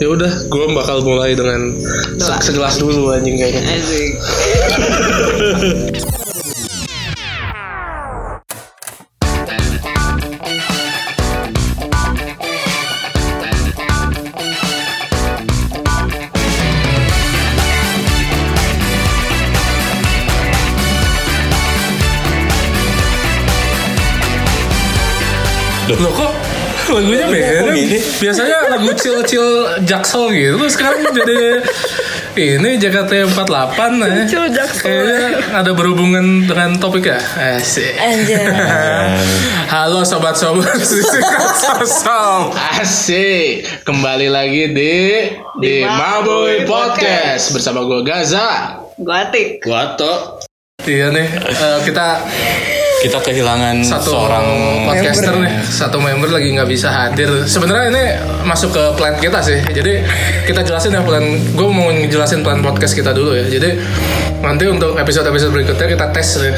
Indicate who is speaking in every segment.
Speaker 1: ya udah gue bakal mulai dengan se-
Speaker 2: Doa.
Speaker 1: segelas dulu anjing kayaknya
Speaker 2: Asik.
Speaker 3: Loh kok lagunya beda?
Speaker 4: gini?
Speaker 3: Biasanya lagu chill-chill jaksel gitu. Terus sekarang jadi ini Jakarta 48 ya.
Speaker 2: Chill jaksel.
Speaker 3: Kayaknya ada berhubungan dengan topik ya? Asik.
Speaker 2: Anjir.
Speaker 3: Halo sobat-sobat Sisikan Sosok.
Speaker 1: Asik, kembali lagi di di Mabui Podcast bersama gue Gaza.
Speaker 2: Gue atik.
Speaker 1: Wato.
Speaker 3: Iya nih, eh, kita
Speaker 4: Kita kehilangan
Speaker 3: satu
Speaker 4: seorang
Speaker 3: podcaster nih, satu member lagi nggak bisa hadir. Sebenarnya ini masuk ke plan kita sih. Jadi kita jelasin ya plan. Gue mau ngejelasin plan podcast kita dulu ya. Jadi nanti untuk episode-episode berikutnya kita tes ya.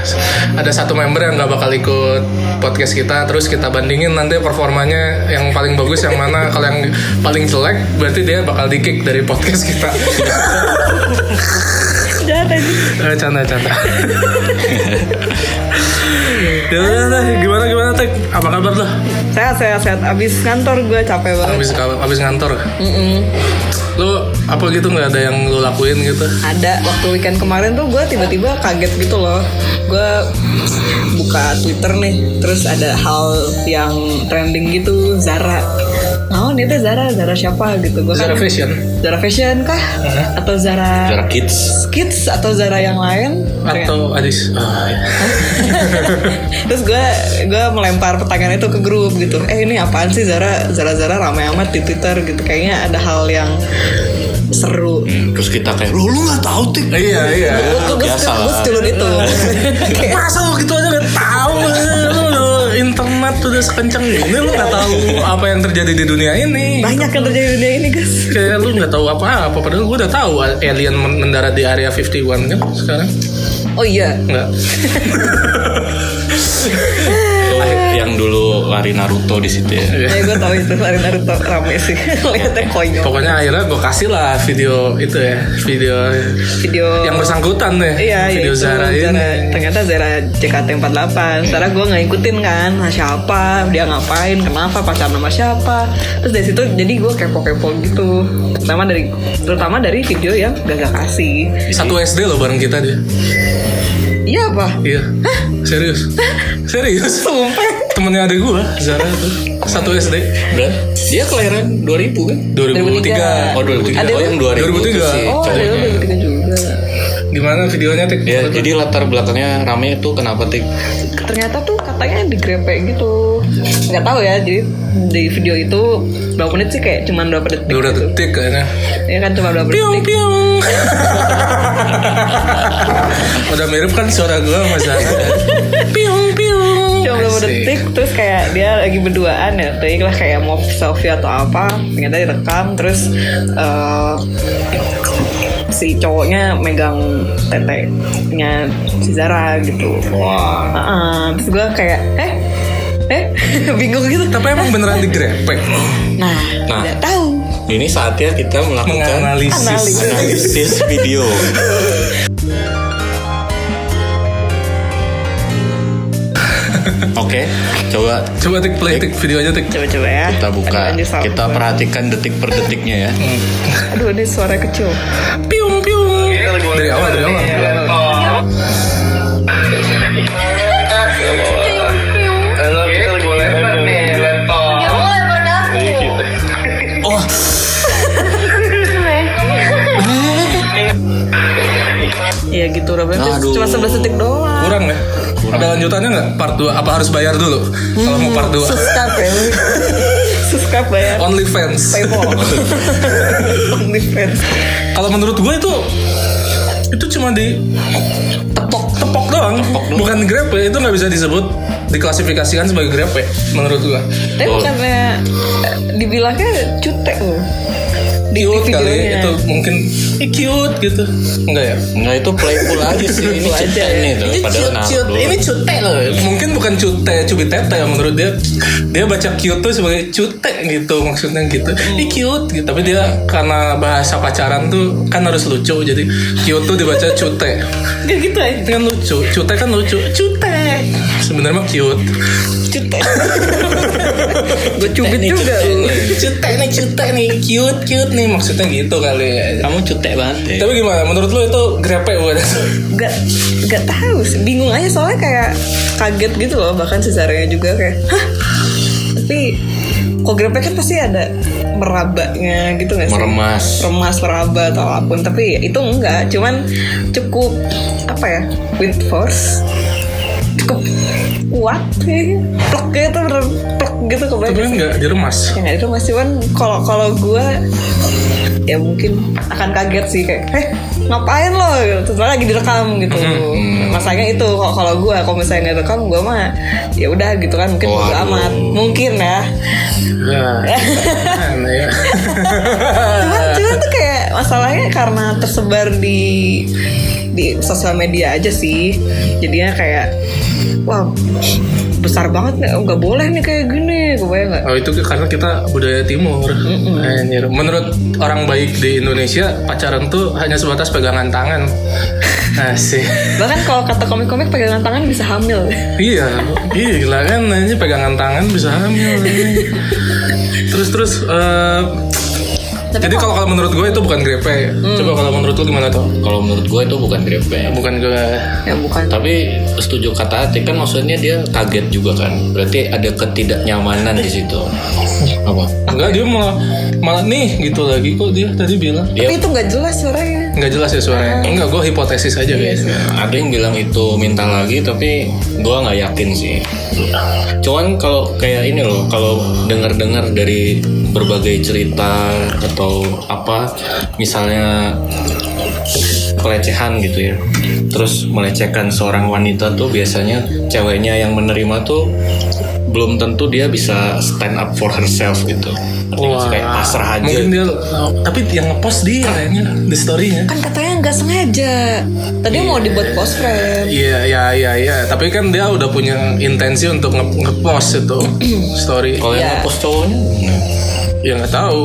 Speaker 3: ada satu member yang nggak bakal ikut podcast kita. Terus kita bandingin nanti performanya yang paling bagus yang mana. Kalau yang paling jelek berarti dia bakal di kick dari podcast kita.
Speaker 2: Jahat anjir.
Speaker 3: Eh, canda canda. ya udah, udah. gimana gimana tek? Apa kabar lo?
Speaker 2: Sehat, sehat, sehat. Abis kantor gue capek banget.
Speaker 3: Abis kalau abis ngantor,
Speaker 2: Mm-mm.
Speaker 3: lo apa gitu nggak ada yang lo lakuin gitu?
Speaker 2: Ada waktu weekend kemarin tuh gue tiba-tiba kaget gitu loh. Gue buka Twitter nih, terus ada hal yang trending gitu Zara. Oh, ini tuh Zara, Zara siapa gitu? Gue
Speaker 3: Zara Uh-huh.
Speaker 2: kan
Speaker 3: Fashion
Speaker 2: Zara Fashion kah? Atau Zara
Speaker 4: Jarak kids.
Speaker 2: Kids atau Zara yang lain?
Speaker 3: atau Adis? Ah, iya.
Speaker 2: Terus gue gue melempar pertanyaan itu ke grup gitu. Eh ini apaan sih Zara Zara Zara ramai amat di Twitter gitu. Kayaknya ada hal yang seru.
Speaker 4: Hmm, terus kita kayak, lu lu nggak tahu tik?
Speaker 3: Iya iya.
Speaker 2: Gue
Speaker 4: biasa
Speaker 2: gue
Speaker 4: lah.
Speaker 2: sedulur itu. Kayak,
Speaker 3: Masa lo gitu aja nggak tahu? Lo udah internet udah sekencang ini lo nggak tahu apa yang terjadi di dunia ini.
Speaker 2: Banyak yang terjadi di dunia ini guys.
Speaker 3: Kayak lu nggak tahu apa-apa padahal gue udah tahu alien men- mendarat di area 51 kan sekarang.
Speaker 2: Oh iya.
Speaker 3: Enggak.
Speaker 4: Yang dulu lari Naruto di situ ya.
Speaker 2: Ya gue tahu itu Lari Naruto rame sih. Lihatnya konyol.
Speaker 3: Pokoknya akhirnya gue kasih lah video itu ya, video
Speaker 2: Video
Speaker 3: yang bersangkutan deh,
Speaker 2: Iya,
Speaker 3: video
Speaker 2: yaitu
Speaker 3: Zara
Speaker 2: Zara.
Speaker 3: ini.
Speaker 2: Ternyata Zara JKT48. Zara gue nggak ngikutin kan, nah, siapa, dia ngapain, kenapa, pacar nama siapa. Terus dari situ jadi gue kepo-kepo gitu. Terutama dari terutama dari video yang gak kasih.
Speaker 3: Satu SD loh bareng kita dia.
Speaker 2: Iya apa?
Speaker 3: Iya. Serius. Serius.
Speaker 2: Sumpah.
Speaker 3: Temennya ada gue, Zara tuh. Satu SD.
Speaker 4: Berat. Dia kelahiran 2000 kan?
Speaker 3: 2003.
Speaker 4: Oh 2003.
Speaker 2: Ada
Speaker 4: oh
Speaker 2: lu?
Speaker 4: yang 2000 itu
Speaker 3: 2003.
Speaker 4: sih.
Speaker 2: Oh, ada
Speaker 4: cowoknya.
Speaker 2: lu dari kita juga.
Speaker 3: Gimana videonya Tik?
Speaker 2: Iya.
Speaker 4: Ya, jadi latar belakangnya rame itu kenapa tik?
Speaker 2: Ternyata tuh katanya digrepe gitu. Nggak tahu ya, jadi di video itu berapa menit sih kayak cuman berapa detik?
Speaker 3: Dua
Speaker 2: gitu.
Speaker 3: detik kayaknya.
Speaker 2: Ya kan cuma berapa
Speaker 3: Piung
Speaker 2: detik.
Speaker 3: piung. Udah mirip kan suara gue sama Zara. piung piung.
Speaker 2: Cuma beberapa
Speaker 3: Asik.
Speaker 2: detik terus kayak dia lagi berduaan ya Tadi lah kayak mau selfie atau apa Ternyata direkam terus eh, Si cowoknya megang teteknya si Zara gitu
Speaker 4: Wah.
Speaker 2: Heeh, Terus gue kayak eh Eh bingung gitu
Speaker 3: Tapi emang beneran digrepek.
Speaker 2: Nah,
Speaker 4: Nah.
Speaker 2: tidak tahu
Speaker 4: Ini saatnya kita melakukan
Speaker 3: Menganalisis.
Speaker 2: Analisis.
Speaker 4: analisis video. Oke, coba
Speaker 3: Coba Tik play Tik videonya Tik.
Speaker 2: Coba-coba ya
Speaker 4: kita buka,
Speaker 2: Aduh, anjir, salah.
Speaker 4: kita perhatikan detik per detiknya ya.
Speaker 2: Aduh ini suara kecil
Speaker 3: Piung piung. Dari awal dari awal. Dari awal.
Speaker 4: Oh,
Speaker 2: Iya gitu berapa
Speaker 4: Aduh.
Speaker 2: Cuma 11 detik doang
Speaker 3: Kurang ya? Ada lanjutannya nggak? Part 2 apa harus bayar dulu? Kalau mau part 2
Speaker 2: Subscribe ya Subscribe ya
Speaker 3: Only fans.
Speaker 2: Paywall OnlyFans
Speaker 3: Kalau menurut gue itu itu cuma di tepok tepok doang, bukan grab ya. itu nggak bisa disebut diklasifikasikan sebagai grab ya menurut gue.
Speaker 2: Tapi bukannya eh, dibilangnya cutek loh. Di- di
Speaker 3: cute kali ya.
Speaker 2: videonya.
Speaker 3: itu mungkin eh, cute gitu enggak ya
Speaker 4: Enggak Nah, itu playful aja sih ini cute nih tuh padahal
Speaker 3: cute,
Speaker 4: Naruto.
Speaker 3: ini cute loh. Iya. Mungkin bukan cute, cubit tete ya, menurut dia. Dia baca cute tuh sebagai cute gitu maksudnya gitu. Ini cute gitu, tapi dia karena bahasa pacaran tuh kan harus lucu. Jadi cute tuh dibaca cute.
Speaker 2: Gak gitu aja.
Speaker 3: Itu kan lucu. Cute kan lucu. Cute. Sebenarnya mah cute. Cute.
Speaker 2: Gue cubit
Speaker 4: nih,
Speaker 2: juga
Speaker 4: cute
Speaker 2: lu.
Speaker 4: nih.
Speaker 3: cute nih, cute nih, cute cute nih maksudnya gitu kali ya.
Speaker 4: Kamu cute banget ya.
Speaker 3: Tapi gimana? Menurut lu itu grepe bukan?
Speaker 2: Gak gak tahu sih. Bingung aja soalnya kayak kaget gitu loh. Bahkan sesarnya juga kayak. Hah? Tapi kok grepe kan pasti ada merabaknya gitu gak sih?
Speaker 4: Meremas.
Speaker 2: remas meraba atau apapun tapi itu enggak cuman cukup apa ya with force cukup kuat kayaknya plek gitu bener plek gitu ke
Speaker 3: Tapi
Speaker 2: badan
Speaker 3: kan nggak diremas.
Speaker 2: ya nggak itu mas cuman kalau kalau gue ya mungkin akan kaget sih kayak eh ngapain lo gitu Sebenarnya lagi direkam gitu masanya itu kalau kalau gue kalau misalnya nggak direkam gue mah ya udah gitu kan mungkin bodo
Speaker 4: Waduh.
Speaker 2: amat mungkin ya
Speaker 3: Ya. Aneh ya.
Speaker 2: cuman cuman tuh kayak masalahnya karena tersebar di di sosial media aja sih jadinya kayak wow besar banget nih nggak boleh nih kayak gini gue nggak
Speaker 3: Oh itu karena kita budaya timur. Anjir. Menurut orang baik di Indonesia, pacaran tuh hanya sebatas pegangan tangan. Asih.
Speaker 2: bahkan kalau kata komik-komik pegangan tangan bisa hamil
Speaker 3: iya, gila kan aja pegangan tangan bisa hamil. terus terus eh,
Speaker 2: tapi
Speaker 3: jadi kalau kalau menurut gue itu bukan grepe. Coba kalau menurut lu gimana tuh?
Speaker 4: Kalau menurut gue itu bukan grepe.
Speaker 3: Bukan gue
Speaker 2: ya bukan
Speaker 4: Tapi setuju kata Atik kan maksudnya dia kaget juga kan. Berarti ada ketidaknyamanan di situ. Apa?
Speaker 3: enggak dia malah malah nih gitu lagi kok dia tadi bilang
Speaker 2: tapi
Speaker 4: Dia
Speaker 2: itu nggak jelas suaranya
Speaker 3: nggak jelas ya suaranya. Enggak, gue hipotesis aja guys.
Speaker 4: ada yang bilang itu minta lagi tapi gua nggak yakin sih. Cuman kalau kayak ini loh, kalau dengar-dengar dari berbagai cerita atau apa misalnya pelecehan gitu ya. Terus melecehkan seorang wanita tuh biasanya ceweknya yang menerima tuh belum tentu dia bisa stand up for herself gitu. Ngerti nggak sih? Kayak pasrah aja.
Speaker 3: Mungkin dia tapi yang ngepost dia kayaknya di story-nya.
Speaker 2: kan katanya nggak sengaja tadi mau dibuat post friend
Speaker 3: Iya, iya, iya, iya. Tapi kan dia udah punya intensi untuk nge- ngepost itu story.
Speaker 4: Kalau yang
Speaker 2: Iya.
Speaker 4: ngepost cowoknya nah,
Speaker 3: Ya nggak tahu.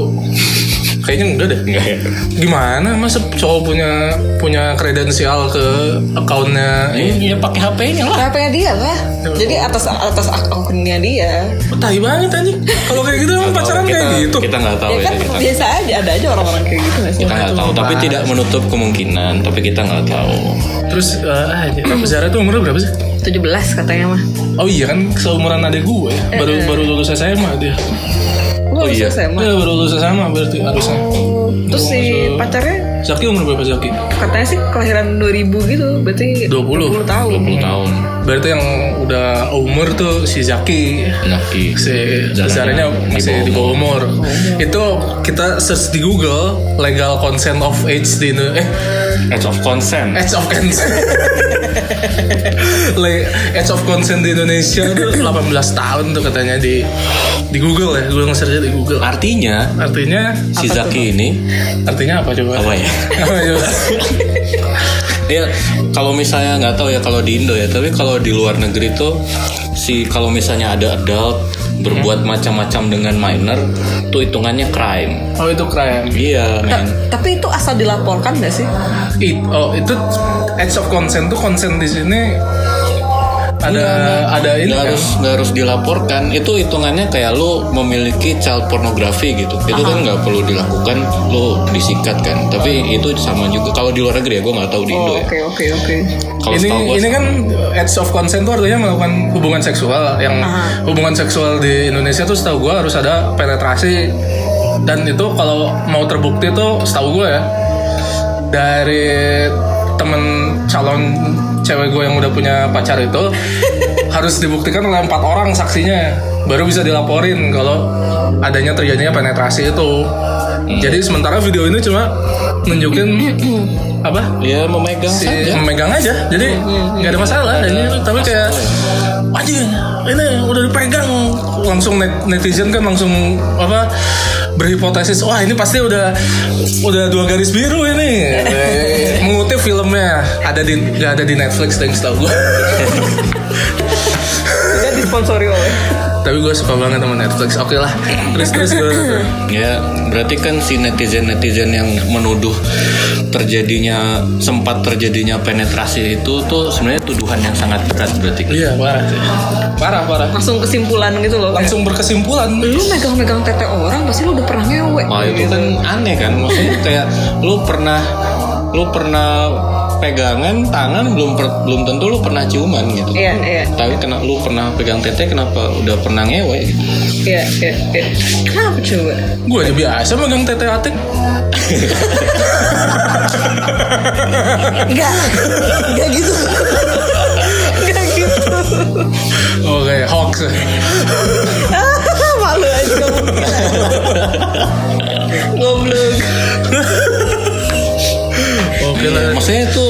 Speaker 3: Kayaknya enggak deh.
Speaker 4: nggak ya.
Speaker 3: Gimana masa cowok punya punya kredensial ke akunnya?
Speaker 4: Iya pakai HP-nya lah.
Speaker 2: HP-nya dia lah jadi atas atas akunnya dia
Speaker 3: Oh, tai banget anjing. Kalau kayak gitu emang pacaran
Speaker 4: kita,
Speaker 3: kayak gitu.
Speaker 4: Kita nggak tahu
Speaker 2: ya
Speaker 4: ya.
Speaker 2: kan
Speaker 4: kita.
Speaker 2: biasa aja ada aja orang-orang kayak gitu nggak sih
Speaker 3: Iya,
Speaker 4: kita nggak tahu tapi tidak menutup kemungkinan tapi kita nggak tahu
Speaker 3: Terus eh anjing, tapi Zara tuh umurnya berapa sih?
Speaker 2: 17 katanya mah
Speaker 3: Oh iya kan seumuran adik gue ya. Baru baru lulus SMA dia.
Speaker 2: Oh
Speaker 4: iya.
Speaker 3: Dia baru lulus SMA berarti harusnya.
Speaker 2: Terus si
Speaker 4: eh,
Speaker 2: pacarnya
Speaker 3: Zaki umur berapa Zaki?
Speaker 2: katanya sih kelahiran 2000 gitu, berarti
Speaker 3: 20.
Speaker 2: 20 tahun.
Speaker 4: 20
Speaker 3: Iya.
Speaker 4: tahun Iya.
Speaker 3: Berarti yang udah umur tuh si Zaki
Speaker 4: laki
Speaker 3: si
Speaker 4: Jalannya
Speaker 3: besarnya masih di bawah umur. Itu kita search di Google legal consent of age di Indo- eh
Speaker 4: age of consent
Speaker 3: age of consent. Le- age of consent di Indonesia itu 18 tahun tuh katanya di di Google ya, gue nge-search di Google.
Speaker 4: artinya
Speaker 3: Artinya
Speaker 4: si Zaki ini
Speaker 3: artinya apa coba?
Speaker 4: apa ya
Speaker 3: Apa coba?
Speaker 4: ya kalau misalnya nggak tahu ya kalau di Indo ya tapi kalau di luar negeri tuh si kalau misalnya ada adult
Speaker 3: Hmm.
Speaker 4: berbuat macam-macam dengan minor tuh hitungannya crime
Speaker 3: Oh itu crime.
Speaker 4: iya men
Speaker 2: Tapi itu asal dilaporkan gak sih?
Speaker 3: It, oh itu age of consent tuh consent di sini ada ada ini
Speaker 4: nggak
Speaker 3: kan?
Speaker 4: harus nggak harus dilaporkan itu hitungannya kayak lu memiliki child pornografi gitu itu kan nggak perlu dilakukan lu disikat kan tapi itu sama juga kalau di luar negeri ya gue nggak tahu di
Speaker 2: Oh,
Speaker 4: Indo ya
Speaker 2: oke oke oke.
Speaker 4: kalau
Speaker 3: ini
Speaker 4: setahu gue
Speaker 3: ini kan acts of consent tuh artinya melakukan hubungan seksual yang
Speaker 2: Aha.
Speaker 3: hubungan seksual di Indonesia tuh setahu gue harus ada penetrasi dan itu kalau mau terbukti tuh setahu gue ya dari temen calon cewek gue yang udah punya pacar itu harus dibuktikan oleh empat orang saksinya baru bisa dilaporin kalau adanya terjadinya penetrasi itu jadi sementara video ini cuma nunjukin apa
Speaker 4: dia ya memegang
Speaker 3: si
Speaker 4: saja
Speaker 3: memegang aja jadi nggak ada masalah ini tapi kayak anjing ini udah dipegang langsung net- netizen kan langsung apa berhipotesis wah ini pasti udah udah dua garis biru ini mengutip filmnya ada di nggak ada di Netflix dan setahu gue
Speaker 2: Tidak disponsori oleh
Speaker 3: tapi gue suka banget sama Netflix oke lah terus terus terus.
Speaker 4: Ya, berarti kan si netizen-netizen yang menuduh terjadinya sempat terjadinya penetrasi itu tuh sebenarnya tuduhan yang sangat berat berarti.
Speaker 3: iya parah parah parah
Speaker 2: langsung kesimpulan gitu loh. kayak,
Speaker 3: langsung berkesimpulan
Speaker 2: Lu megang-megang tete orang pasti lu udah pernah ngewe.
Speaker 4: Wah, itu kan aneh kan? Maksudnya kayak lu pernah lu pernah pegangan tangan belum per- belum tentu lu pernah ciuman gitu.
Speaker 2: Iya, iya,
Speaker 4: Tapi kena lu pernah pegang tete kenapa udah pernah ngewe gitu.
Speaker 2: iya, iya, iya. Kenapa coba?
Speaker 3: gue aja biasa megang tete atik
Speaker 2: Enggak, enggak gitu. Enggak gitu.
Speaker 3: oke Oh, hoax
Speaker 2: Malu aja kamu. Goblok.
Speaker 3: oke lah
Speaker 4: Maksudnya itu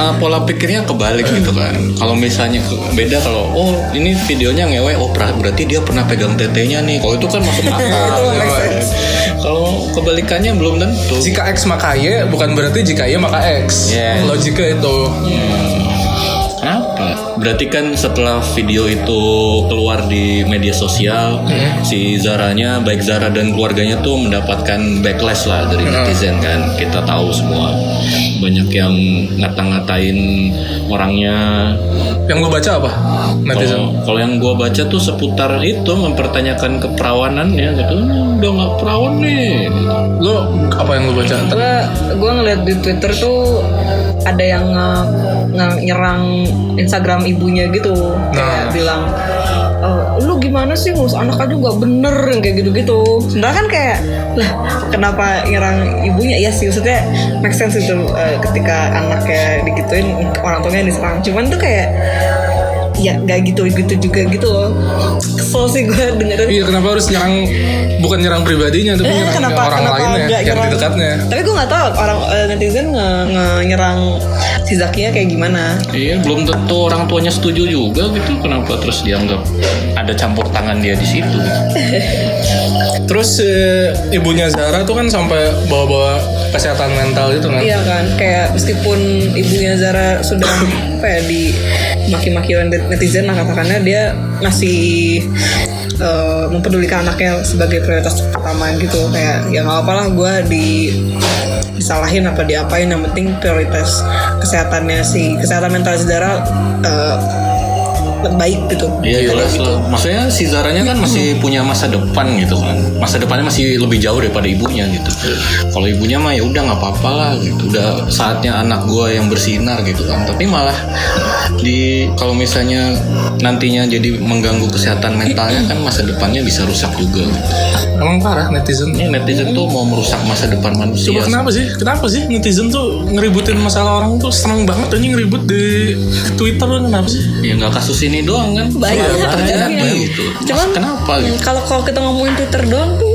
Speaker 4: uh, pola pikirnya kebalik gitu kan. Kalau misalnya ke- beda kalau oh ini videonya ngewe, oh pra- berarti dia pernah pegang tetenya nih. Kalau itu kan masuk
Speaker 3: iya,
Speaker 4: akal. kan.
Speaker 2: Itu make sense.
Speaker 4: kalau kebalikannya belum tentu.
Speaker 3: jika X maka Y bukan berarti jika Y maka X
Speaker 4: Yes.
Speaker 3: logika itu
Speaker 4: Kenapa? Berarti kan setelah video itu keluar di media sosial, si Zaranya, baik Zara dan keluarganya tuh mendapatkan backlash lah dari netizen kan. Kita tahu semua banyak yang ngata-ngatain orangnya,
Speaker 3: yang lu baca apa netizen
Speaker 4: Kalau kalau yang gua baca tuh seputar itu mempertanyakan keperawanannya gitu. Hmm, Udah nggak perawan nih.
Speaker 3: lu apa yang lu baca
Speaker 2: Gue gue ngeliat di Twitter tuh ada yang nge- nge- nyerang Instagram ibunya gitu,
Speaker 3: Nah.
Speaker 2: kayak bilang "Eh, lu gimana sih ngurus anak aja nggak bener yang kayak gitu-gitu. Sebenarnya kan kayak lah kenapa nyerang ibunya? Ya sih maksudnya make sense itu eh, ketika anaknya digituin orang tuanya diserang. Cuman tuh kayak ya nggak gitu gitu juga gitu loh. Kesel sih gue dengerin.
Speaker 3: Iya kenapa harus nyerang bukan nyerang pribadinya tapi
Speaker 2: Eh,
Speaker 3: nyerang orang lainnya
Speaker 2: nggak
Speaker 3: yang di
Speaker 2: nyerang?
Speaker 3: dekatnya.
Speaker 2: Tapi gue nggak tahu orang eh, netizen nge, nge- nyerang si Zakinya kayak gimana.
Speaker 4: Iya, belum tentu orang tuanya setuju juga gitu. Kenapa terus dianggap ada campur tangan dia di situ?
Speaker 3: Terus eh, ibunya Zara tuh kan sampai bawa-bawa kesehatan mental gitu kan.
Speaker 2: Iya kan, kayak meskipun ibunya Zara sudah apa ya di maki-maki oleh netizen lah katakannya dia masih eh, mempedulikan anaknya sebagai prioritas utama gitu kayak ya nggak apa-apa lah gue di disalahin apa diapain yang penting prioritas kesehatannya si kesehatan mental si Zara eh, baik gitu.
Speaker 4: Iya jelas lah. Maksudnya si Zaranya kan masih punya masa depan gitu kan. Masa depannya masih lebih jauh daripada ibunya gitu. Kalau ibunya mah ya udah nggak apa-apa lah gitu. Udah saatnya anak gua yang bersinar gitu kan. Tapi malah di kalau misalnya nantinya jadi mengganggu kesehatan mentalnya kan masa depannya bisa rusak juga. Gitu.
Speaker 3: Emang parah netizen.
Speaker 4: Ini netizen tuh mau merusak masa depan manusia.
Speaker 3: Coba kenapa Iya sih? Kenapa sih netizen tuh ngeributin masalah orang tuh seneng banget anjing ngeribut di Twitter tuh kenapa sih?
Speaker 4: Ya nggak kasus ini doang kan.
Speaker 2: Banyak,
Speaker 4: Selalu terjadi
Speaker 2: banyak.
Speaker 4: gitu. Mas,
Speaker 2: Cuman-
Speaker 4: kenapa gitu?
Speaker 2: Hmm, Kalau kalau kita ngomongin Twitter doang tuh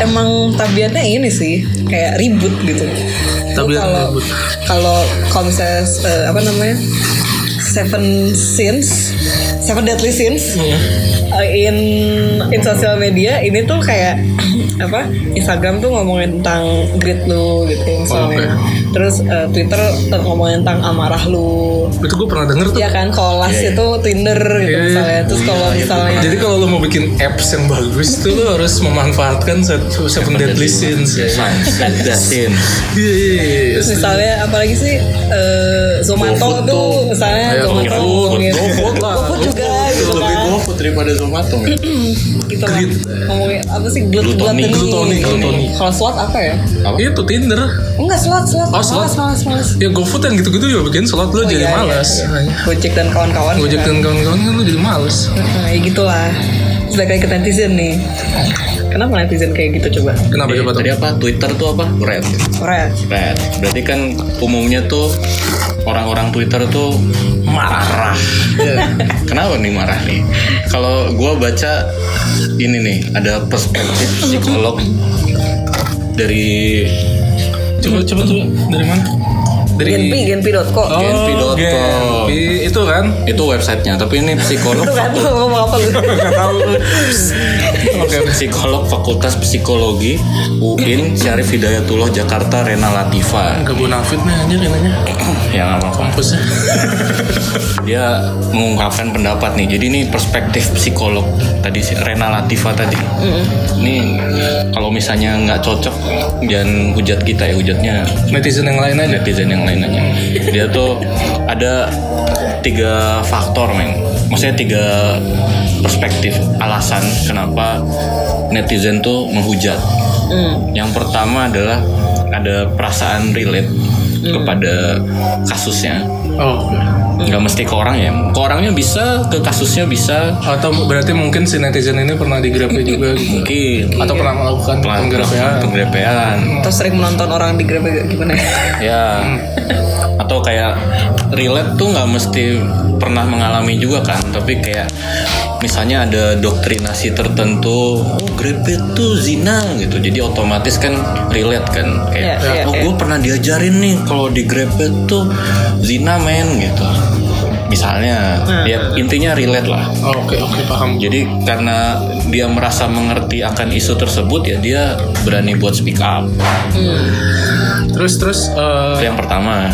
Speaker 2: emang tabiatnya ini sih kayak ribut gitu.
Speaker 3: Tabiat
Speaker 2: Kalau-
Speaker 3: ribut.
Speaker 2: Kalau kalau misalnya eh, apa namanya Seven Sins, Seven Deadly Sins
Speaker 4: Iya.
Speaker 2: eh, in in sosial media ini tuh kayak apa Instagram tuh ngomongin tentang greed lu gitu
Speaker 4: Oh,
Speaker 2: misalnya.
Speaker 3: oke.
Speaker 2: Terus eh, Twitter eh, ngomongin tentang amarah lu.
Speaker 3: Itu gue pernah denger tuh.
Speaker 2: Ya kan, kalau last itu Tinder gitu
Speaker 3: Iya, iya.
Speaker 2: misalnya. Terus kalau misalnya
Speaker 3: Jadi kalau lo mau bikin apps yang bagus tuh lo harus memanfaatkan satu seven deadly sins. Iya
Speaker 4: Dasin.
Speaker 3: iya iya.
Speaker 2: Terus misalnya apalagi sih eh, Zomato
Speaker 4: GoFood
Speaker 2: tuh
Speaker 4: tuh.
Speaker 2: misalnya
Speaker 3: Ayo,
Speaker 2: Zomato
Speaker 3: Iya, GoFood,
Speaker 2: ngomongin
Speaker 3: GoFood iya, lah,
Speaker 2: GoFood juga gitu
Speaker 4: Lebih
Speaker 2: kan
Speaker 4: gua daripada Zomato. ya.
Speaker 2: gitu kan ngomongin apa sih glut
Speaker 4: Glutoni,
Speaker 2: glutoni
Speaker 3: glutoni, glutoni.
Speaker 2: kalau SWOT apa ya
Speaker 3: Itu Tinder.
Speaker 2: enggak SWOT SWOT
Speaker 3: Oh, slot.
Speaker 2: malas malas malas
Speaker 3: Ya GoFood yang gitu-gitu juga bikin slot lo
Speaker 2: Oh,
Speaker 3: jadi
Speaker 2: iya, iya,
Speaker 3: malas.
Speaker 2: Gojek dan kawan-kawan
Speaker 3: Gojek dan kawan-kawan kan lo jadi malas.
Speaker 2: nah, ya gitulah Sebagai ke netizen nih Kenapa netizen kayak gitu coba?
Speaker 3: Kenapa
Speaker 4: Eh,
Speaker 3: coba tuh?
Speaker 4: Tadi apa? Twitter tuh apa? Red.
Speaker 2: Red
Speaker 4: Red. Berarti kan umumnya tuh orang-orang Twitter tuh marah. Kenapa nih marah nih? Kalau gua baca ini nih, ada perspektif psikolog dari
Speaker 3: Coba coba tuh dari mana? dari
Speaker 2: Genpi, genpi.co.
Speaker 4: Oh. Genpi.com.
Speaker 3: Genpi. itu kan
Speaker 4: Itu websitenya, tapi ini psikolog.
Speaker 2: Tuh kan lu ngomong apa lu?
Speaker 3: nggak tahu oke
Speaker 4: psikolog Fakultas Psikologi UIN Syarif Hidayatullah Jakarta Rena Ya, Latifa
Speaker 3: nggak bonafit nih anjir ya. katanya
Speaker 4: yang apa
Speaker 3: kampusnya
Speaker 4: dia mengungkapkan pendapat nih jadi ini perspektif psikolog tadi si Rena Latifa tadi ini kalau misalnya nggak cocok jangan hujat kita ya hujatnya
Speaker 3: netizen yang lain aja
Speaker 4: netizen yang lain aja dia tuh ada tiga faktor men maksudnya tiga perspektif alasan kenapa netizen tuh menghujat
Speaker 2: Hmm.
Speaker 4: yang pertama adalah ada perasaan relate kepada kasusnya
Speaker 3: oh
Speaker 4: nggak mesti ke orang ya ke orangnya bisa ke kasusnya bisa
Speaker 3: atau berarti mungkin si netizen ini pernah digrape juga gitu
Speaker 4: mungkin
Speaker 3: atau pernah melakukan
Speaker 4: penggerepean
Speaker 3: penggerepean
Speaker 4: penggerepean
Speaker 2: Atau sering menonton orang di Grab gimana ya?
Speaker 4: ya atau kayak relate tuh nggak mesti pernah mengalami juga kan tapi kayak misalnya ada doktrinasi tertentu oh grepet tuh zina gitu jadi otomatis kan relate kan kayak
Speaker 2: Iya, iya,
Speaker 4: oh
Speaker 2: iya.
Speaker 4: gue pernah diajarin nih kalau di grepet tuh zina men gitu misalnya
Speaker 2: Hmm.
Speaker 4: ya intinya relate lah
Speaker 3: Oh, oke oke paham
Speaker 4: Jadi karena dia merasa mengerti akan isu tersebut ya dia berani buat speak up.
Speaker 3: terus terus eh,
Speaker 4: Itu yang pertama.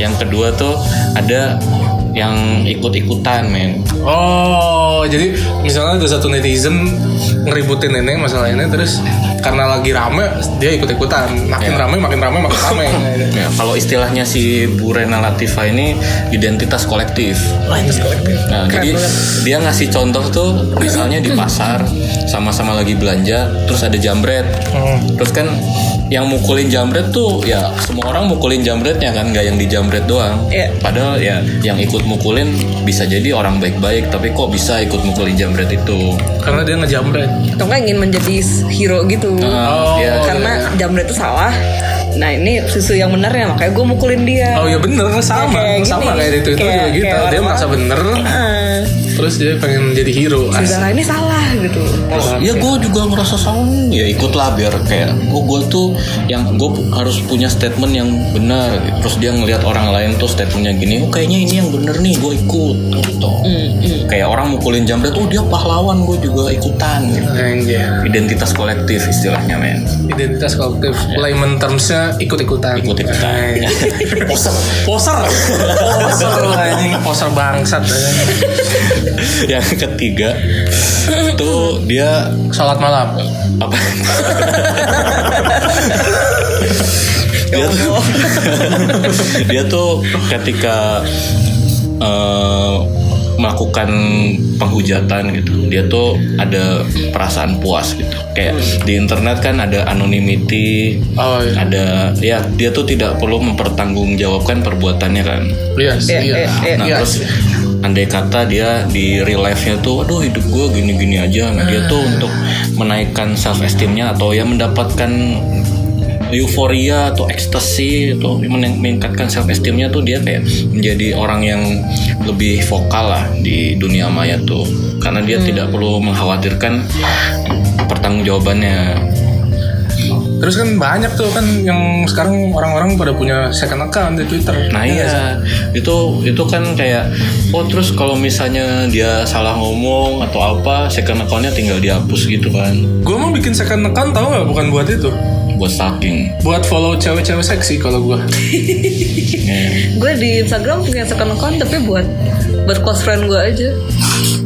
Speaker 4: Yang kedua tuh ada yang ikut-ikutan men.
Speaker 3: Oh, jadi misalnya ada satu netizen ngeributin ini masalah ini terus karena lagi rame dia ikut-ikutan. Makin
Speaker 4: Ya.
Speaker 3: rame, makin rame, makin rame.
Speaker 4: Ya, kalau istilahnya si Bu Rena Latifa ini identitas kolektif. Nah, jadi dia ngasih contoh tuh misalnya di pasar sama-sama lagi belanja terus ada jambret.
Speaker 3: Hmm,
Speaker 4: Terus kan yang mukulin jambret tuh ya semua orang mukulin jambretnya kan nggak yang dijambret doang.
Speaker 2: Iya.
Speaker 4: Padahal ya yang ikut mukulin bisa jadi orang baik-baik tapi kok bisa ikut mukulin jambret itu.
Speaker 3: karena dia ngejamret.
Speaker 2: Atau nggak ingin menjadi hero gitu?
Speaker 4: Nah, dia-
Speaker 3: Oh,
Speaker 2: Karena jamret itu salah. Nah ini susu yang benar ya makanya gue mukulin dia.
Speaker 3: Oh ya bener sama,
Speaker 2: kayak
Speaker 3: sama
Speaker 2: gini.
Speaker 3: kayak di Twitter
Speaker 2: Kayak-
Speaker 3: juga gitu.
Speaker 2: kayak
Speaker 3: dia
Speaker 2: orang-orang.
Speaker 3: merasa bener,
Speaker 2: Ah,
Speaker 3: terus dia pengen jadi hero.
Speaker 2: saudara ini salah gitu.
Speaker 4: Ya gue juga ngerasa salah nih. Ya ikutlah biar kayak oh gue tuh yang gue harus punya statement yang benar. gitu. Terus dia ngelihat orang lain tuh statementnya gini, oh kayaknya ini yang benar nih gue ikut. Gitu.
Speaker 2: Hmm.
Speaker 4: Kayak orang mukulin jambret, oh dia pahlawan gue juga ikutan. gitu.
Speaker 3: Anjir.
Speaker 4: Identitas kolektif istilahnya men.
Speaker 3: Identitas kolektif, layman termsnya Ya. ikut-ikutan. gitu.
Speaker 4: Ikut ikutan.
Speaker 3: Ay.
Speaker 4: Poser.
Speaker 3: Nah, Poser, poser lu anjing, poser bangsat. ya.
Speaker 4: yang ketiga tuh dia
Speaker 3: Salat malam.
Speaker 4: apa dia tuh dia tuh ketika eh, melakukan penghujatan gitu dia tuh ada perasaan puas gitu kayak di internet kan ada anonymity
Speaker 3: Oh iya,
Speaker 4: ada ya dia tuh tidak perlu mempertanggungjawabkan perbuatannya kan
Speaker 3: Yes, iya.
Speaker 2: Iya, iya, iya.
Speaker 4: Nah
Speaker 3: Iya.
Speaker 4: terus andai kata dia di real life-nya tuh aduh hidup gue gini-gini aja nah, dia tuh untuk menaikkan self esteemnya atau ya mendapatkan euforia atau ekstasi atau men- meningkatkan self esteemnya tuh dia kayak menjadi orang yang lebih vokal lah di dunia maya tuh karena dia tidak perlu mengkhawatirkan pertanggungjawabannya
Speaker 3: Terus kan banyak tuh kan yang sekarang orang-orang pada punya second account di Twitter.
Speaker 4: Nah iya, itu itu kan kayak oh terus kalau misalnya dia salah ngomong atau apa, second account-nya tinggal dihapus gitu kan.
Speaker 3: Gue mau bikin second account tau gak? Bukan buat itu.
Speaker 4: Buat stalking.
Speaker 3: Buat follow cewek-cewek seksi kalau gue.
Speaker 4: Ya.
Speaker 2: Gue di Instagram punya second account tapi buat buat close friend gue aja.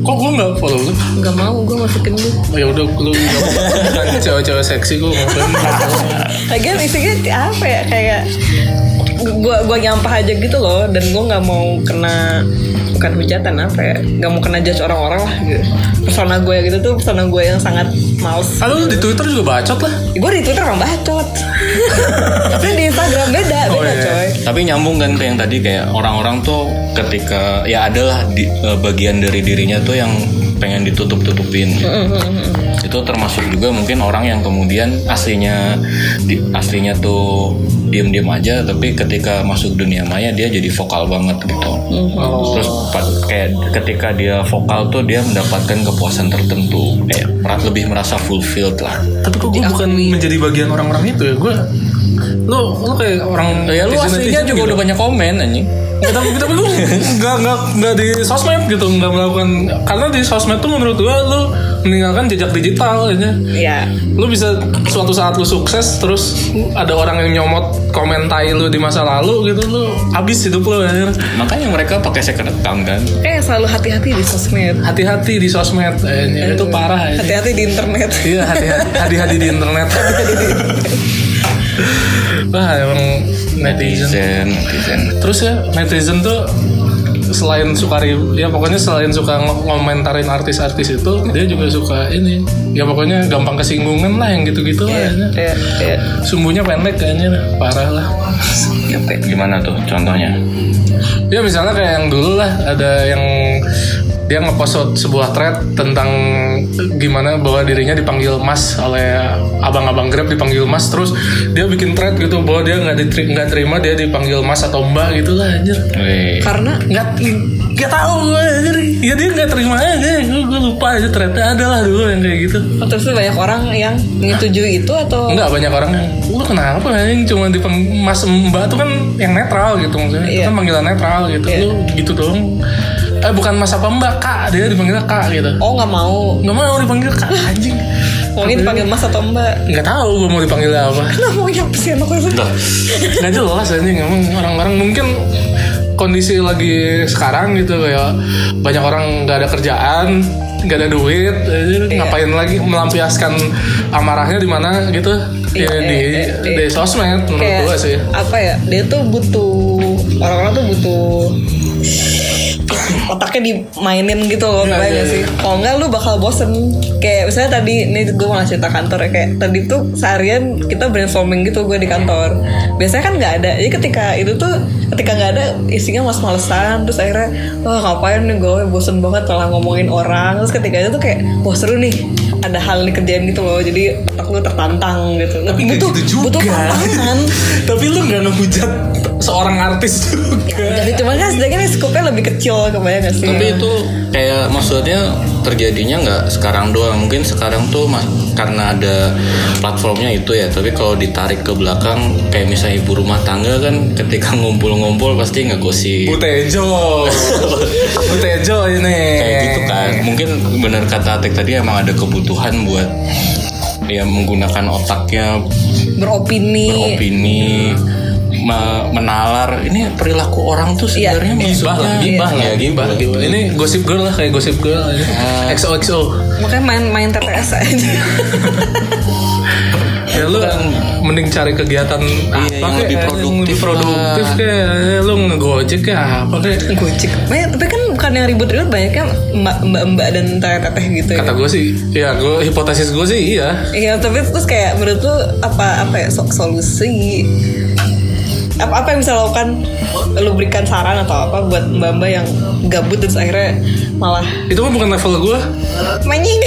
Speaker 3: Kok gue nggak follow lu?
Speaker 2: Nggak mau gue masukin lu.
Speaker 3: Oh, ya udah lu nggak mau. Kan cewek-cewek seksi gue ngapain?
Speaker 2: Lagian isinya apa ya kayak gue gua nyampah aja gitu loh dan gue nggak mau kena bukan hujatan apa ya nggak mau kena judge orang-orang lah gitu persona gue gitu tuh persona gue yang sangat males
Speaker 3: Ah, lu di Twitter juga bacot lah.
Speaker 2: gue di Twitter orang bacot tapi di Instagram beda beda
Speaker 3: Oh, iya.
Speaker 2: coy
Speaker 4: Tapi nyambung kan ke yang tadi kayak orang-orang tuh ketika Iya. ya adalah di- eh, bagian dari dirinya tuh yang pengen ditutup-tutupin. Itu itu termasuk juga mungkin orang yang kemudian aslinya di, aslinya tuh diem-diem aja tapi ketika masuk dunia maya dia jadi vokal banget gitu terus pa- kayak ketika dia vokal tuh dia mendapatkan kepuasan tertentu kayak mer- lebih merasa fulfilled lah
Speaker 3: tapi kok gue bukan menjadi bagian orang-orang itu ya gue lu lu kayak orang
Speaker 4: ya lu
Speaker 3: netizen-netizen
Speaker 4: aslinya juga
Speaker 3: gitu.
Speaker 4: udah banyak komen anjing
Speaker 3: Ya, tapi, tapi lu nggak nggak nggak di sosmed gitu nggak melakukan karena di sosmed tuh menurut gua lu meninggalkan jejak digital ya
Speaker 2: ya
Speaker 3: lu bisa suatu saat lu sukses terus ada orang yang nyomot komen tai lu di masa lalu gitu lu abis hidup lu anjir
Speaker 4: makanya mereka pakai second account kan
Speaker 2: kayak selalu hati-hati di sosmed
Speaker 3: hati-hati di sosmed anjir. itu parah ya. anjir.
Speaker 2: hati-hati di internet
Speaker 3: iya hati-hati hati-hati di internet wah emang netizen
Speaker 4: netizen netizen
Speaker 3: Terus ya netizen tuh selain suka ri- ya pokoknya selain suka ng- ngomentarin artis-artis itu dia juga suka ini ya pokoknya gampang kesinggungan lah yang gitu-gitu lah ya.
Speaker 2: ya ya
Speaker 3: sumbunya pendek kayaknya parah lah
Speaker 4: gimana tuh contohnya
Speaker 3: ya misalnya kayak yang dulu lah ada yang dia ngepost suat- sebuah thread tentang gimana bahwa dirinya dipanggil mas oleh abang-abang grab dipanggil mas terus dia bikin thread gitu bahwa dia nggak diteri- nggak terima dia dipanggil mas atau mbak gitu lah anjir
Speaker 4: Wih.
Speaker 2: karena
Speaker 3: nggak nggak tahu gue anjir. ya dia nggak terima aja gue, gue lupa aja ternyata ada lah dulu yang kayak gitu
Speaker 2: oh, terus tuh banyak orang yang menyetujui itu atau
Speaker 3: nggak banyak orang yang
Speaker 2: Iya.
Speaker 3: lu kenapa yang cuma di mas mbak tuh kan yang netral gitu maksudnya itu
Speaker 2: Iya.
Speaker 3: kan panggilan netral gitu
Speaker 2: Iya.
Speaker 3: lu gitu doang eh bukan mas apa mbak kak dia dipanggil kak gitu
Speaker 2: oh nggak mau
Speaker 3: nggak mau dipanggil kak anjing
Speaker 2: mungkin panggil mas atau mbak
Speaker 3: nggak tahu gue mau dipanggil apa
Speaker 2: Nah, mau yang sih anak itu?
Speaker 3: nggak jelas anjing emang orang-orang mungkin kondisi lagi sekarang gitu kayak banyak orang nggak ada kerjaan nggak ada duit jadi
Speaker 2: Iya.
Speaker 3: ngapain lagi melampiaskan amarahnya di mana gitu
Speaker 2: Iya,
Speaker 3: ya,
Speaker 2: iya,
Speaker 3: di
Speaker 2: iya,
Speaker 3: di
Speaker 2: iya.
Speaker 3: sosmed menurut
Speaker 2: kayak
Speaker 3: gua sih
Speaker 2: apa ya dia tuh butuh orang-orang tuh butuh otaknya dimainin gitu loh
Speaker 3: Iya,
Speaker 2: nggak
Speaker 3: iya,
Speaker 2: sih kalau nggak lu bakal bosen kayak misalnya tadi ini gue mau cerita kantor ya kayak tadi tuh seharian kita brainstorming gitu gue di kantor biasanya kan nggak ada jadi ketika itu tuh ketika nggak ada isinya mas malesan terus akhirnya wah ngapain nih gue bosen banget malah ngomongin orang terus ketika itu tuh kayak wah seru nih ada hal nih kerjaan gitu loh jadi otak lu tertantang gitu
Speaker 3: Tapi nggak
Speaker 2: butuh
Speaker 3: gitu juga.
Speaker 2: butuh tantangan
Speaker 3: tapi lu nggak ngehujat seorang artis juga
Speaker 2: jadi cuman kan setidaknya skupnya lebih kecil kebayang gak sih
Speaker 4: Tapi itu kayak maksudnya terjadinya nggak sekarang doang. Mungkin sekarang tuh mas, karena ada platformnya itu ya. Tapi kalau ditarik ke belakang, kayak misalnya ibu rumah tangga kan, ketika ngumpul-ngumpul pasti nggak gosip.
Speaker 3: Butejo Butejo ini
Speaker 4: Kayak gitu kan.
Speaker 3: Iya.
Speaker 4: Mungkin benar kata Atik tadi emang ada kebutuhan buat ya menggunakan otaknya
Speaker 2: beropini
Speaker 4: beropini me- menalar ini perilaku orang tuh
Speaker 2: Iya.
Speaker 4: sebenarnya
Speaker 3: gibah lah
Speaker 4: maksudnya-
Speaker 3: gibah
Speaker 4: Iya,
Speaker 3: lah gibah gitu ini gosip girl lah kayak gosip girl aja. XOXO
Speaker 2: makanya main main TTS aja
Speaker 3: ya lu mending cari kegiatan apa
Speaker 4: yang
Speaker 3: kek,
Speaker 4: lebih
Speaker 3: yang
Speaker 4: produktif
Speaker 3: lebih produktif
Speaker 4: lah.
Speaker 3: kayak eh, lu ngegojek ya apa kayak
Speaker 2: gocek Banyak- tapi kan bukan yang ribut-ribut banyaknya mbak mbak, mbak dan teteh gitu ya
Speaker 3: kata gue sih ya gue hipotesis gue sih iya
Speaker 2: Iya, tapi terus kayak menurut lu apa apa ya so- solusi apa apa yang bisa lakukan lu berikan saran atau apa buat mbak mbak yang gabut terus akhirnya malah
Speaker 3: itu mah bukan level gue
Speaker 2: manying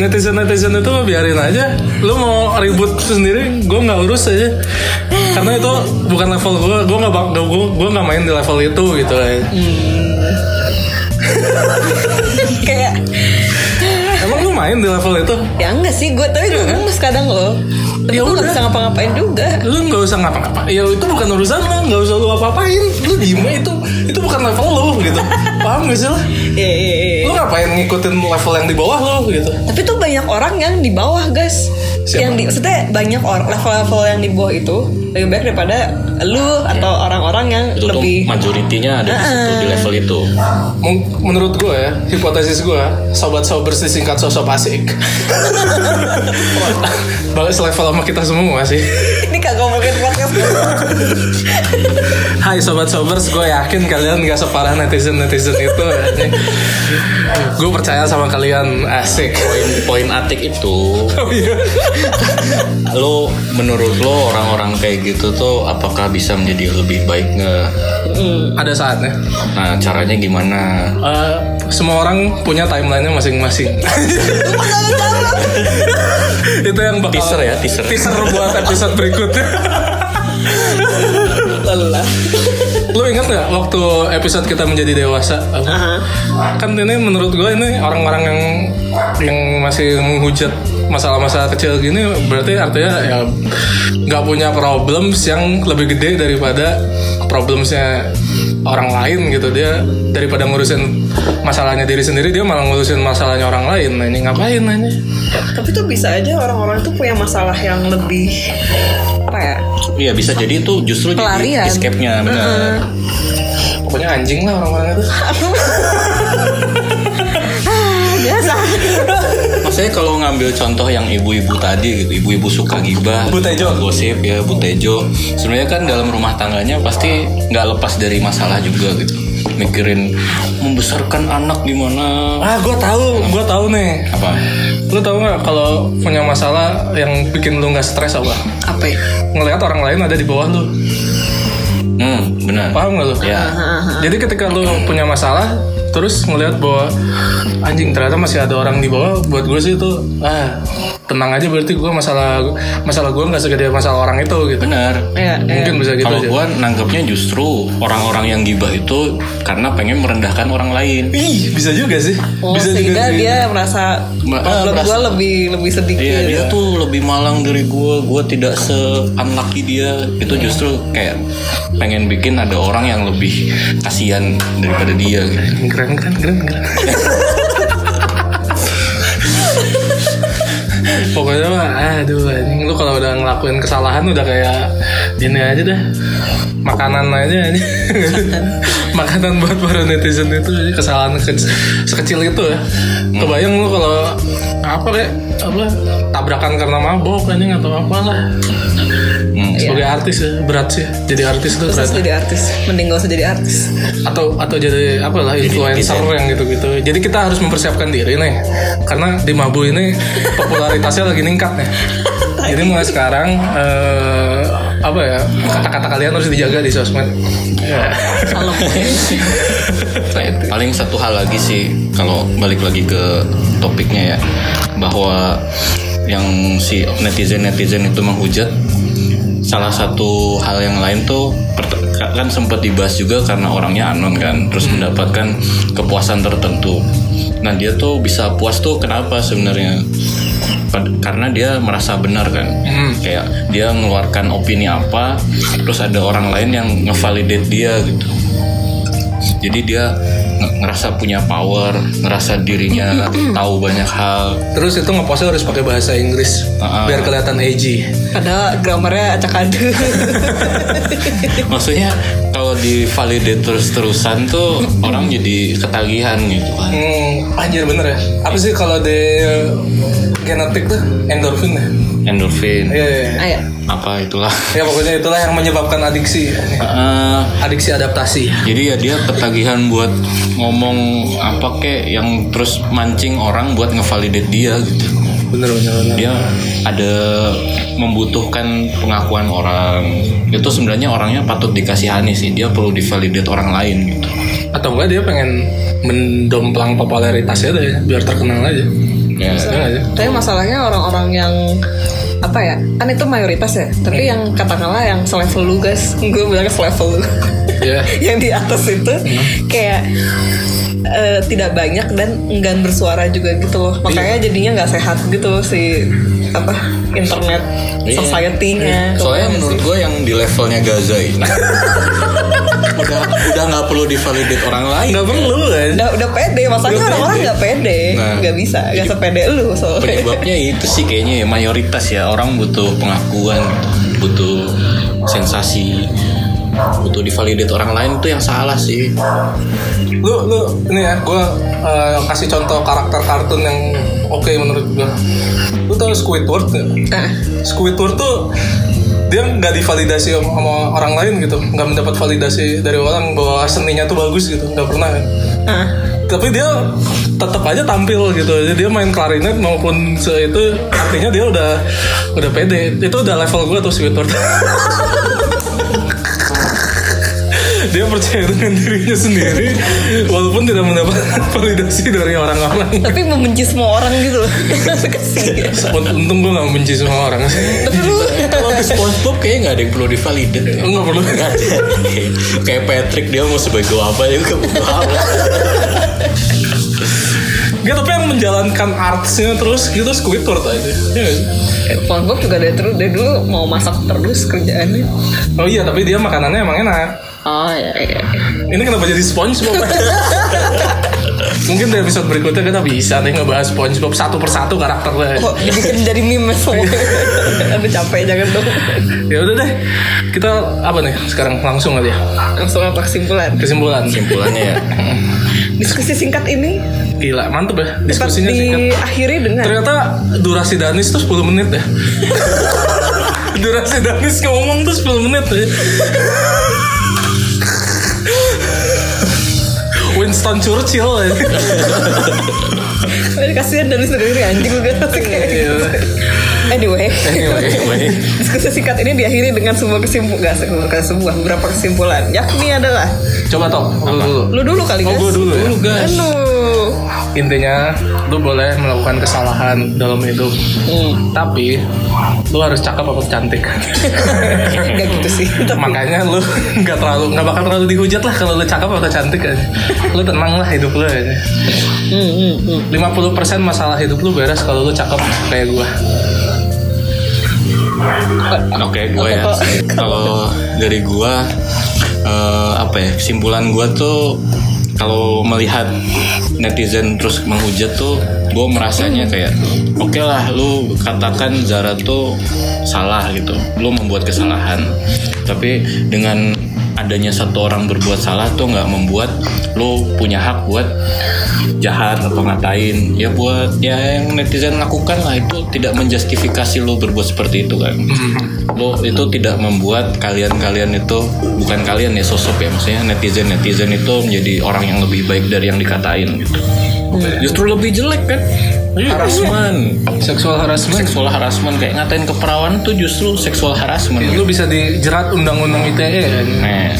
Speaker 3: netizen netizen itu mah biarin aja lu mau ribut sendiri gue nggak urus aja karena itu bukan level gue gue nggak bak gue gue nggak main di level itu gitu ya.
Speaker 2: kayak
Speaker 3: emang lu main di level itu
Speaker 2: ya enggak sih gue tapi gue gemes kadang loh
Speaker 3: Iya, kan? Ya
Speaker 2: tapi gue
Speaker 3: udah.
Speaker 2: nggak bisa ngapa-ngapain juga
Speaker 3: lu nggak usah ngapa-ngapa ya itu bukan urusan lu nggak usah lu apa-apain lu diem aja, itu itu bukan level lu gitu paham gak sih lu
Speaker 2: Iya, iya, iya.
Speaker 3: lu ngapain ngikutin level yang di bawah lo gitu
Speaker 2: tapi tuh banyak orang yang di bawah guys
Speaker 3: Siapa?
Speaker 2: yang di maksudnya banyak orang level-level yang di bawah itu lebih baik daripada lu atau orang-orang yang
Speaker 4: itu tuh
Speaker 2: lebih
Speaker 4: majoritinya ada di situ di level itu
Speaker 3: Men- menurut gue ya hipotesis gue sobat sobers disingkat sosok asik balik selevel sama kita semua sih
Speaker 2: ini kagak ngomongin podcast
Speaker 3: Hai sobat sobers gue yakin kalian gak separah netizen netizen itu ya. gue percaya sama kalian asik
Speaker 4: poin poin atik itu
Speaker 3: Oh iya.
Speaker 4: lu menurut lu orang-orang kayak gitu tuh apakah bisa menjadi lebih baik nggak?
Speaker 3: Ada saatnya.
Speaker 4: Nah caranya gimana?
Speaker 3: Eh, semua orang punya timelinenya masing-masing. Itu yang bakal
Speaker 4: Teaser ya, teaser.
Speaker 3: Teaser buat episode berikutnya.
Speaker 2: lelah
Speaker 3: Lu ingat nggak waktu episode kita menjadi dewasa?
Speaker 2: Aha.
Speaker 3: Kan ini menurut gue ini orang-orang yang yang masih menghujat masalah-masalah kecil gini berarti artinya ya nggak punya problems yang lebih gede daripada problemsnya orang lain gitu dia daripada ngurusin masalahnya diri sendiri dia malah ngurusin masalahnya orang lain nah ini ngapain nanya
Speaker 2: tapi tuh bisa aja orang-orang tuh punya masalah yang lebih apa ya
Speaker 4: Iya bisa jadi itu justru
Speaker 2: Pelarian.
Speaker 4: jadi escape-nya benar.
Speaker 3: pokoknya anjing lah orang-orang itu
Speaker 2: biasa
Speaker 4: Maksudnya kalau ngambil contoh yang ibu-ibu tadi gitu, ibu-ibu suka gibah,
Speaker 3: Bu Tejo.
Speaker 4: suka gosip ya, Bu Tejo. Sebenarnya kan dalam rumah tangganya pasti nggak lepas dari masalah juga gitu. Mikirin membesarkan anak gimana?
Speaker 3: ah gue tahu gue tahu nih
Speaker 4: Apa?
Speaker 3: lu tahu nggak kalau punya masalah yang bikin lu nggak stres apa
Speaker 2: apa ya
Speaker 3: ngelihat orang lain ada di bawah lu
Speaker 4: Hmm, benar.
Speaker 3: paham nggak lu
Speaker 4: Ya.
Speaker 3: jadi ketika lu punya masalah terus ngelihat bahwa anjing ternyata masih ada orang di bawah buat gue sih itu ah tenang aja berarti gue masalah masalah gue nggak segede masalah orang itu gitu
Speaker 4: Benar.
Speaker 2: ya,
Speaker 3: mungkin bisa gitu
Speaker 4: Kalau
Speaker 3: aja
Speaker 4: gua nanggapnya justru orang-orang yang gibah itu karena pengen merendahkan orang lain.
Speaker 3: ih bisa juga sih
Speaker 2: Oh,
Speaker 3: bisa juga
Speaker 2: sehingga
Speaker 3: sih.
Speaker 2: dia merasa
Speaker 4: Ma-
Speaker 2: problem
Speaker 4: merasa-
Speaker 2: gue lebih lebih sedikit.
Speaker 4: Iya dia tuh lebih malang dari gue, gue tidak se unlucky dia.
Speaker 3: Iya.
Speaker 4: Itu justru kayak pengen bikin ada orang yang lebih kasihan daripada dia. Gitu.
Speaker 3: keren keren keren keren pokoknya mah aduh anjing lu kalau udah ngelakuin kesalahan udah kayak ini aja dah makanan aja anjing. makanan buat para netizen itu anjing, kesalahan ke- sekecil itu ya kebayang lu kalau apa kayak apa tabrakan karena mabok anjing atau apalah
Speaker 4: Hmm.
Speaker 3: sebagai artis ya berat sih jadi artis tuh
Speaker 2: Terus
Speaker 3: ternyata
Speaker 2: jadi artis, mending gak usah jadi artis.
Speaker 3: atau atau jadi apa lah influencer
Speaker 4: netizen.
Speaker 3: yang gitu-gitu. Jadi kita harus mempersiapkan diri nih, karena di Mabu ini popularitasnya lagi ningkat nih. Jadi mulai sekarang eh, apa ya kata-kata kalian harus dijaga di sosmed. Ya.
Speaker 4: Kayak- Paling satu hal lagi sih kalau balik lagi ke topiknya ya bahwa yang si netizen netizen itu menghujat salah satu hal yang lain tuh pert- kan sempat dibahas juga karena orangnya anon kan terus mendapatkan kepuasan tertentu nah dia tuh bisa puas tuh kenapa sebenarnya Pad- karena dia merasa benar kan kayak dia mengeluarkan opini apa terus ada orang lain yang ngevalidate dia gitu jadi dia nge- ngerasa punya power ngerasa dirinya tahu banyak hal
Speaker 3: Terus itu ngepostnya harus pakai bahasa Inggris
Speaker 4: Ah.
Speaker 3: biar kelihatan edgy.
Speaker 2: Padahal grammarnya acak aduk.
Speaker 4: maksudnya kalau divalidate terus terusan tuh orang jadi ketagihan gitu kan
Speaker 3: Hmm, anjir bener ya. Apa sih kalau di eh, genetik tuh endorfin ya?
Speaker 4: endorfin
Speaker 3: Iya, iya, iya.
Speaker 2: Ayo.
Speaker 4: apa itulah
Speaker 3: Ya pokoknya itulah yang menyebabkan adiksi,
Speaker 4: Eh,
Speaker 3: adiksi adaptasi.
Speaker 4: jadi ya dia ketagihan buat ngomong apa kek yang terus mancing orang buat ngevalidate dia gitu
Speaker 3: Bener bener. bener.
Speaker 4: dia ada membutuhkan pengakuan orang itu sebenarnya orangnya patut dikasihani sih dia perlu divalidate orang lain gitu
Speaker 3: atau enggak dia pengen mendomplang popularitasnya deh biar terkenal aja
Speaker 4: ya
Speaker 3: ya nggak sih?
Speaker 2: Tapi masalahnya orang-orang yang apa ya? Kan itu mayoritas ya.
Speaker 4: Hmm.
Speaker 2: Tapi yang katakanlah yang selevel lu guys, gue bilang selevel lu.
Speaker 3: Iya.
Speaker 2: yang di atas itu
Speaker 4: Hmm.
Speaker 2: kayak eh, tidak banyak dan enggan bersuara juga gitu
Speaker 4: Iya.
Speaker 2: loh. Makanya jadinya nggak sehat gitu loh si apa internet
Speaker 4: Iya.
Speaker 2: society-nya.
Speaker 4: soalnya menurut gue yang di levelnya Gaza ini udah udah nggak perlu divalidate orang lain
Speaker 3: nggak perlu kan
Speaker 2: udah udah pede masalahnya
Speaker 4: Udah
Speaker 2: orang-orang
Speaker 4: pede.
Speaker 2: nggak pede
Speaker 4: Nah.
Speaker 2: nggak bisa nggak sepede lu soalnya
Speaker 4: penyebabnya itu sih kayaknya ya, mayoritas ya orang butuh pengakuan butuh sensasi butuh divalidate orang lain itu yang salah sih
Speaker 3: lu lu ini ya gue kasih contoh karakter kartun yang oke menurut gue lu tau Squidward nggak?
Speaker 2: nah
Speaker 3: Squidward tuh dia nggak divalidasi sama, sama orang lain gitu nggak mendapat validasi dari orang bahwa seninya tuh bagus gitu nggak pernah kan
Speaker 2: Ah,
Speaker 3: tapi dia tetap aja tampil gitu Jadi dia main klarinet maupun se- itu artinya dia udah udah pede itu udah level gue tuh sweetheart dia percaya dengan dirinya sendiri walaupun tidak mendapat validasi dari orang-orang
Speaker 2: tapi membenci semua orang gitu loh. Kasihan.
Speaker 3: untung gue gak benci semua orang sih
Speaker 2: tapi lu
Speaker 4: Kalau di SpongeBob kayaknya nggak ada yang perlu divalidate. ya.
Speaker 3: nggak perlu
Speaker 4: Nggak ada. Kayak Patrick dia mau sebagai apa dia juga bodo amat.
Speaker 3: Gak, tapi yang menjalankan artsnya terus gitu Squidward aja Iya nggak sih?
Speaker 2: SpongeBob juga dari terus dari dulu mau masak terus kerjaannya.
Speaker 3: oh iya tapi dia makanannya emang enak
Speaker 2: Oh ya. ya.
Speaker 3: Ini kenapa jadi SpongeBob? Mungkin di episode berikutnya kita bisa nih ngebahas SpongeBob satu persatu karakternya.
Speaker 2: Kok dibikin jadi meme semua. Aduh capek jangan dong.
Speaker 3: Ya udah deh, kita apa nih sekarang langsung aja
Speaker 2: Langsung apa kesimpulan?
Speaker 3: kesimpulan.
Speaker 4: Kesimpulannya ya.
Speaker 2: Diskusi singkat ini
Speaker 3: Gila, mantep ya
Speaker 2: dapat
Speaker 3: diskusinya singkat.
Speaker 2: diakhiri dengan
Speaker 3: Ternyata durasi Danis tuh 10 menit ya. durasi Danis ngomong tuh 10 menit ya. Winston Churchill ya.
Speaker 2: Ini kasihan dari sendiri anjing udah pasti kayak gitu. Anyway,
Speaker 3: Iya, Anyway.
Speaker 2: diskusi singkat ini diakhiri dengan sebuah kesimpulan, sebuah, sebuah beberapa kesimpulan. Yakni adalah,
Speaker 3: Coba toh, lu dulu.
Speaker 2: lu dulu kali
Speaker 3: Oh,
Speaker 2: guys.
Speaker 3: gua dulu ya?
Speaker 2: guys. Aduh.
Speaker 3: intinya lu boleh melakukan kesalahan dalam hidup tapi lu harus cakep apa cantik
Speaker 2: Gak gitu sih.
Speaker 3: makanya lu nggak terlalu nggak bakal terlalu dihujat lah kalau lu cakep atau cantik aja. lu tenang lah hidup lu aja 50% masalah hidup lu beres kalau lu cakep kayak gua
Speaker 4: Oke, gue ya. Kalau dari gue, eh, apa ya? Kesimpulan gue tuh kalau melihat netizen terus menghujat tuh, gue merasanya kayak, oke lah, lu katakan Zara tuh salah gitu, lu membuat kesalahan. Tapi dengan adanya satu orang berbuat salah tuh nggak membuat lu punya hak buat jahat atau ngatain ya buat ya yang netizen lakukan lah itu tidak menjustifikasi lu berbuat seperti itu kan lo itu tidak membuat kalian-kalian itu bukan kalian ya sosok ya maksudnya netizen netizen itu menjadi orang yang lebih baik dari yang dikatain gitu justru lebih jelek kan harassment
Speaker 3: seksual harassment
Speaker 4: seksual harassment kayak ngatain keperawan tuh justru seksual harassment
Speaker 3: lu bisa dijerat undang-undang ITE kan
Speaker 4: nah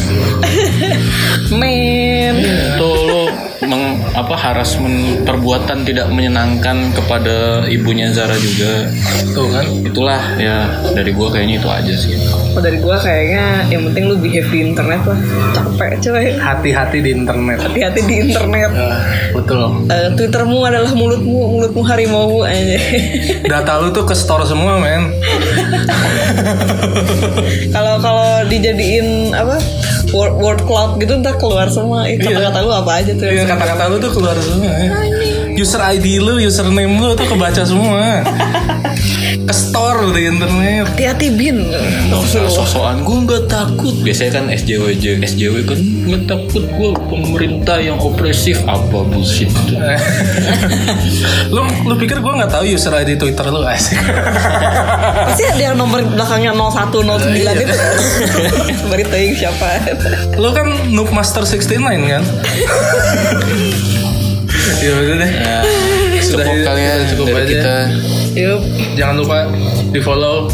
Speaker 2: Men.
Speaker 4: itu lo meng, apa harassment perbuatan tidak menyenangkan kepada ibunya Zara juga
Speaker 3: tuh kan
Speaker 4: itulah ya dari gua kayaknya itu aja sih
Speaker 2: Kalau dari gua kayaknya yang penting lu behave di internet lah. Capek coy.
Speaker 3: hati-hati di internet
Speaker 2: Hati-hati di internet.
Speaker 3: Ya, betul
Speaker 2: Eh, Twittermu adalah mulutmu, mulutmu harimaumu aja.
Speaker 3: data lu tuh ke store semua men
Speaker 2: Kalau kalau dijadiin apa word, word cloud gitu ntar keluar semua. Ih, Kata-kata lu apa aja tuh?
Speaker 3: Iya, kata-kata lu tuh keluar semua ya. User ID lu, username lu tuh kebaca semua. Ke store di internet.
Speaker 2: Hati-hati bin.
Speaker 4: Nggak usah sosokan gue nggak takut biasanya kan SJW SJW kan nggak takut gue pemerintah yang opresif apa bullshit itu
Speaker 3: lu lu pikir gua nggak tahu user ID Twitter lu asik.
Speaker 2: Pasti ada yang nomor belakangnya 0109 itu. Beri teuing siapa.
Speaker 3: lu kan Noob Master 69 kan? ya udah deh. Sudah
Speaker 4: cukup
Speaker 3: ya,
Speaker 4: kalian
Speaker 3: sudah cukup
Speaker 4: dari
Speaker 3: aja.
Speaker 4: kita
Speaker 2: Yup,
Speaker 3: Jangan lupa di follow,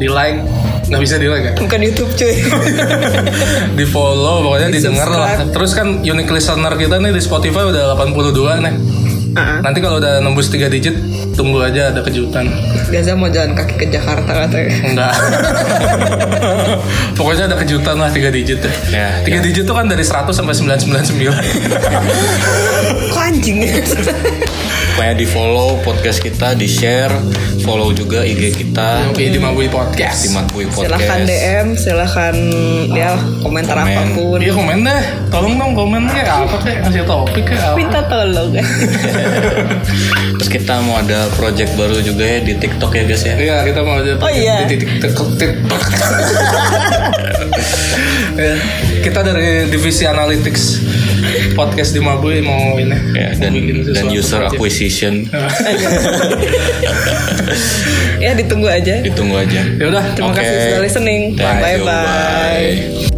Speaker 3: di like, nggak bisa di like ya?
Speaker 2: bukan YouTube cuy.
Speaker 3: di follow pokoknya
Speaker 2: Di
Speaker 3: didengar lah
Speaker 2: subscribe.
Speaker 3: terus kan unique listener kita nih di Spotify udah 82 nih
Speaker 2: Ah,
Speaker 3: nanti kalau udah nembus 3 digit tunggu aja ada kejutan
Speaker 2: Gaza mau jalan kaki ke Jakarta katanya.
Speaker 3: enggak pokoknya ada kejutan lah 3 digit deh
Speaker 4: Ya,
Speaker 3: 3 digit tuh kan dari 100 sampai 999
Speaker 2: Kok anjing?
Speaker 4: pokoknya di follow podcast kita di share follow juga IG kita
Speaker 3: Oke, di Mabui Podcast
Speaker 4: di Makbui Podcast
Speaker 2: silahkan DM, silahkan ya komentar
Speaker 4: Komen.
Speaker 2: apapun.
Speaker 3: Iya komen deh, tolong dong komen ya? kayak apa kayak ngasih topik kayak apa.
Speaker 2: Minta tolong.
Speaker 4: terus kita mau ada project baru juga ya di TikTok ya guys ya.
Speaker 3: Iya kita mau ada
Speaker 2: Oh, iya.
Speaker 3: di titik tek- TikTok. Ya, kita dari divisi analytics podcast di Mabui mau ini
Speaker 4: Ya,
Speaker 3: mau
Speaker 4: dan
Speaker 3: bikin
Speaker 4: dan
Speaker 3: sesuatu
Speaker 4: user
Speaker 3: project.
Speaker 4: acquisition
Speaker 2: ya ditunggu aja
Speaker 4: ditunggu aja.
Speaker 3: Ya udah.
Speaker 2: terima
Speaker 4: Oke.
Speaker 3: Ya
Speaker 2: kasih sudah listening
Speaker 4: Thank
Speaker 2: bye
Speaker 4: you,
Speaker 2: bye
Speaker 4: bye.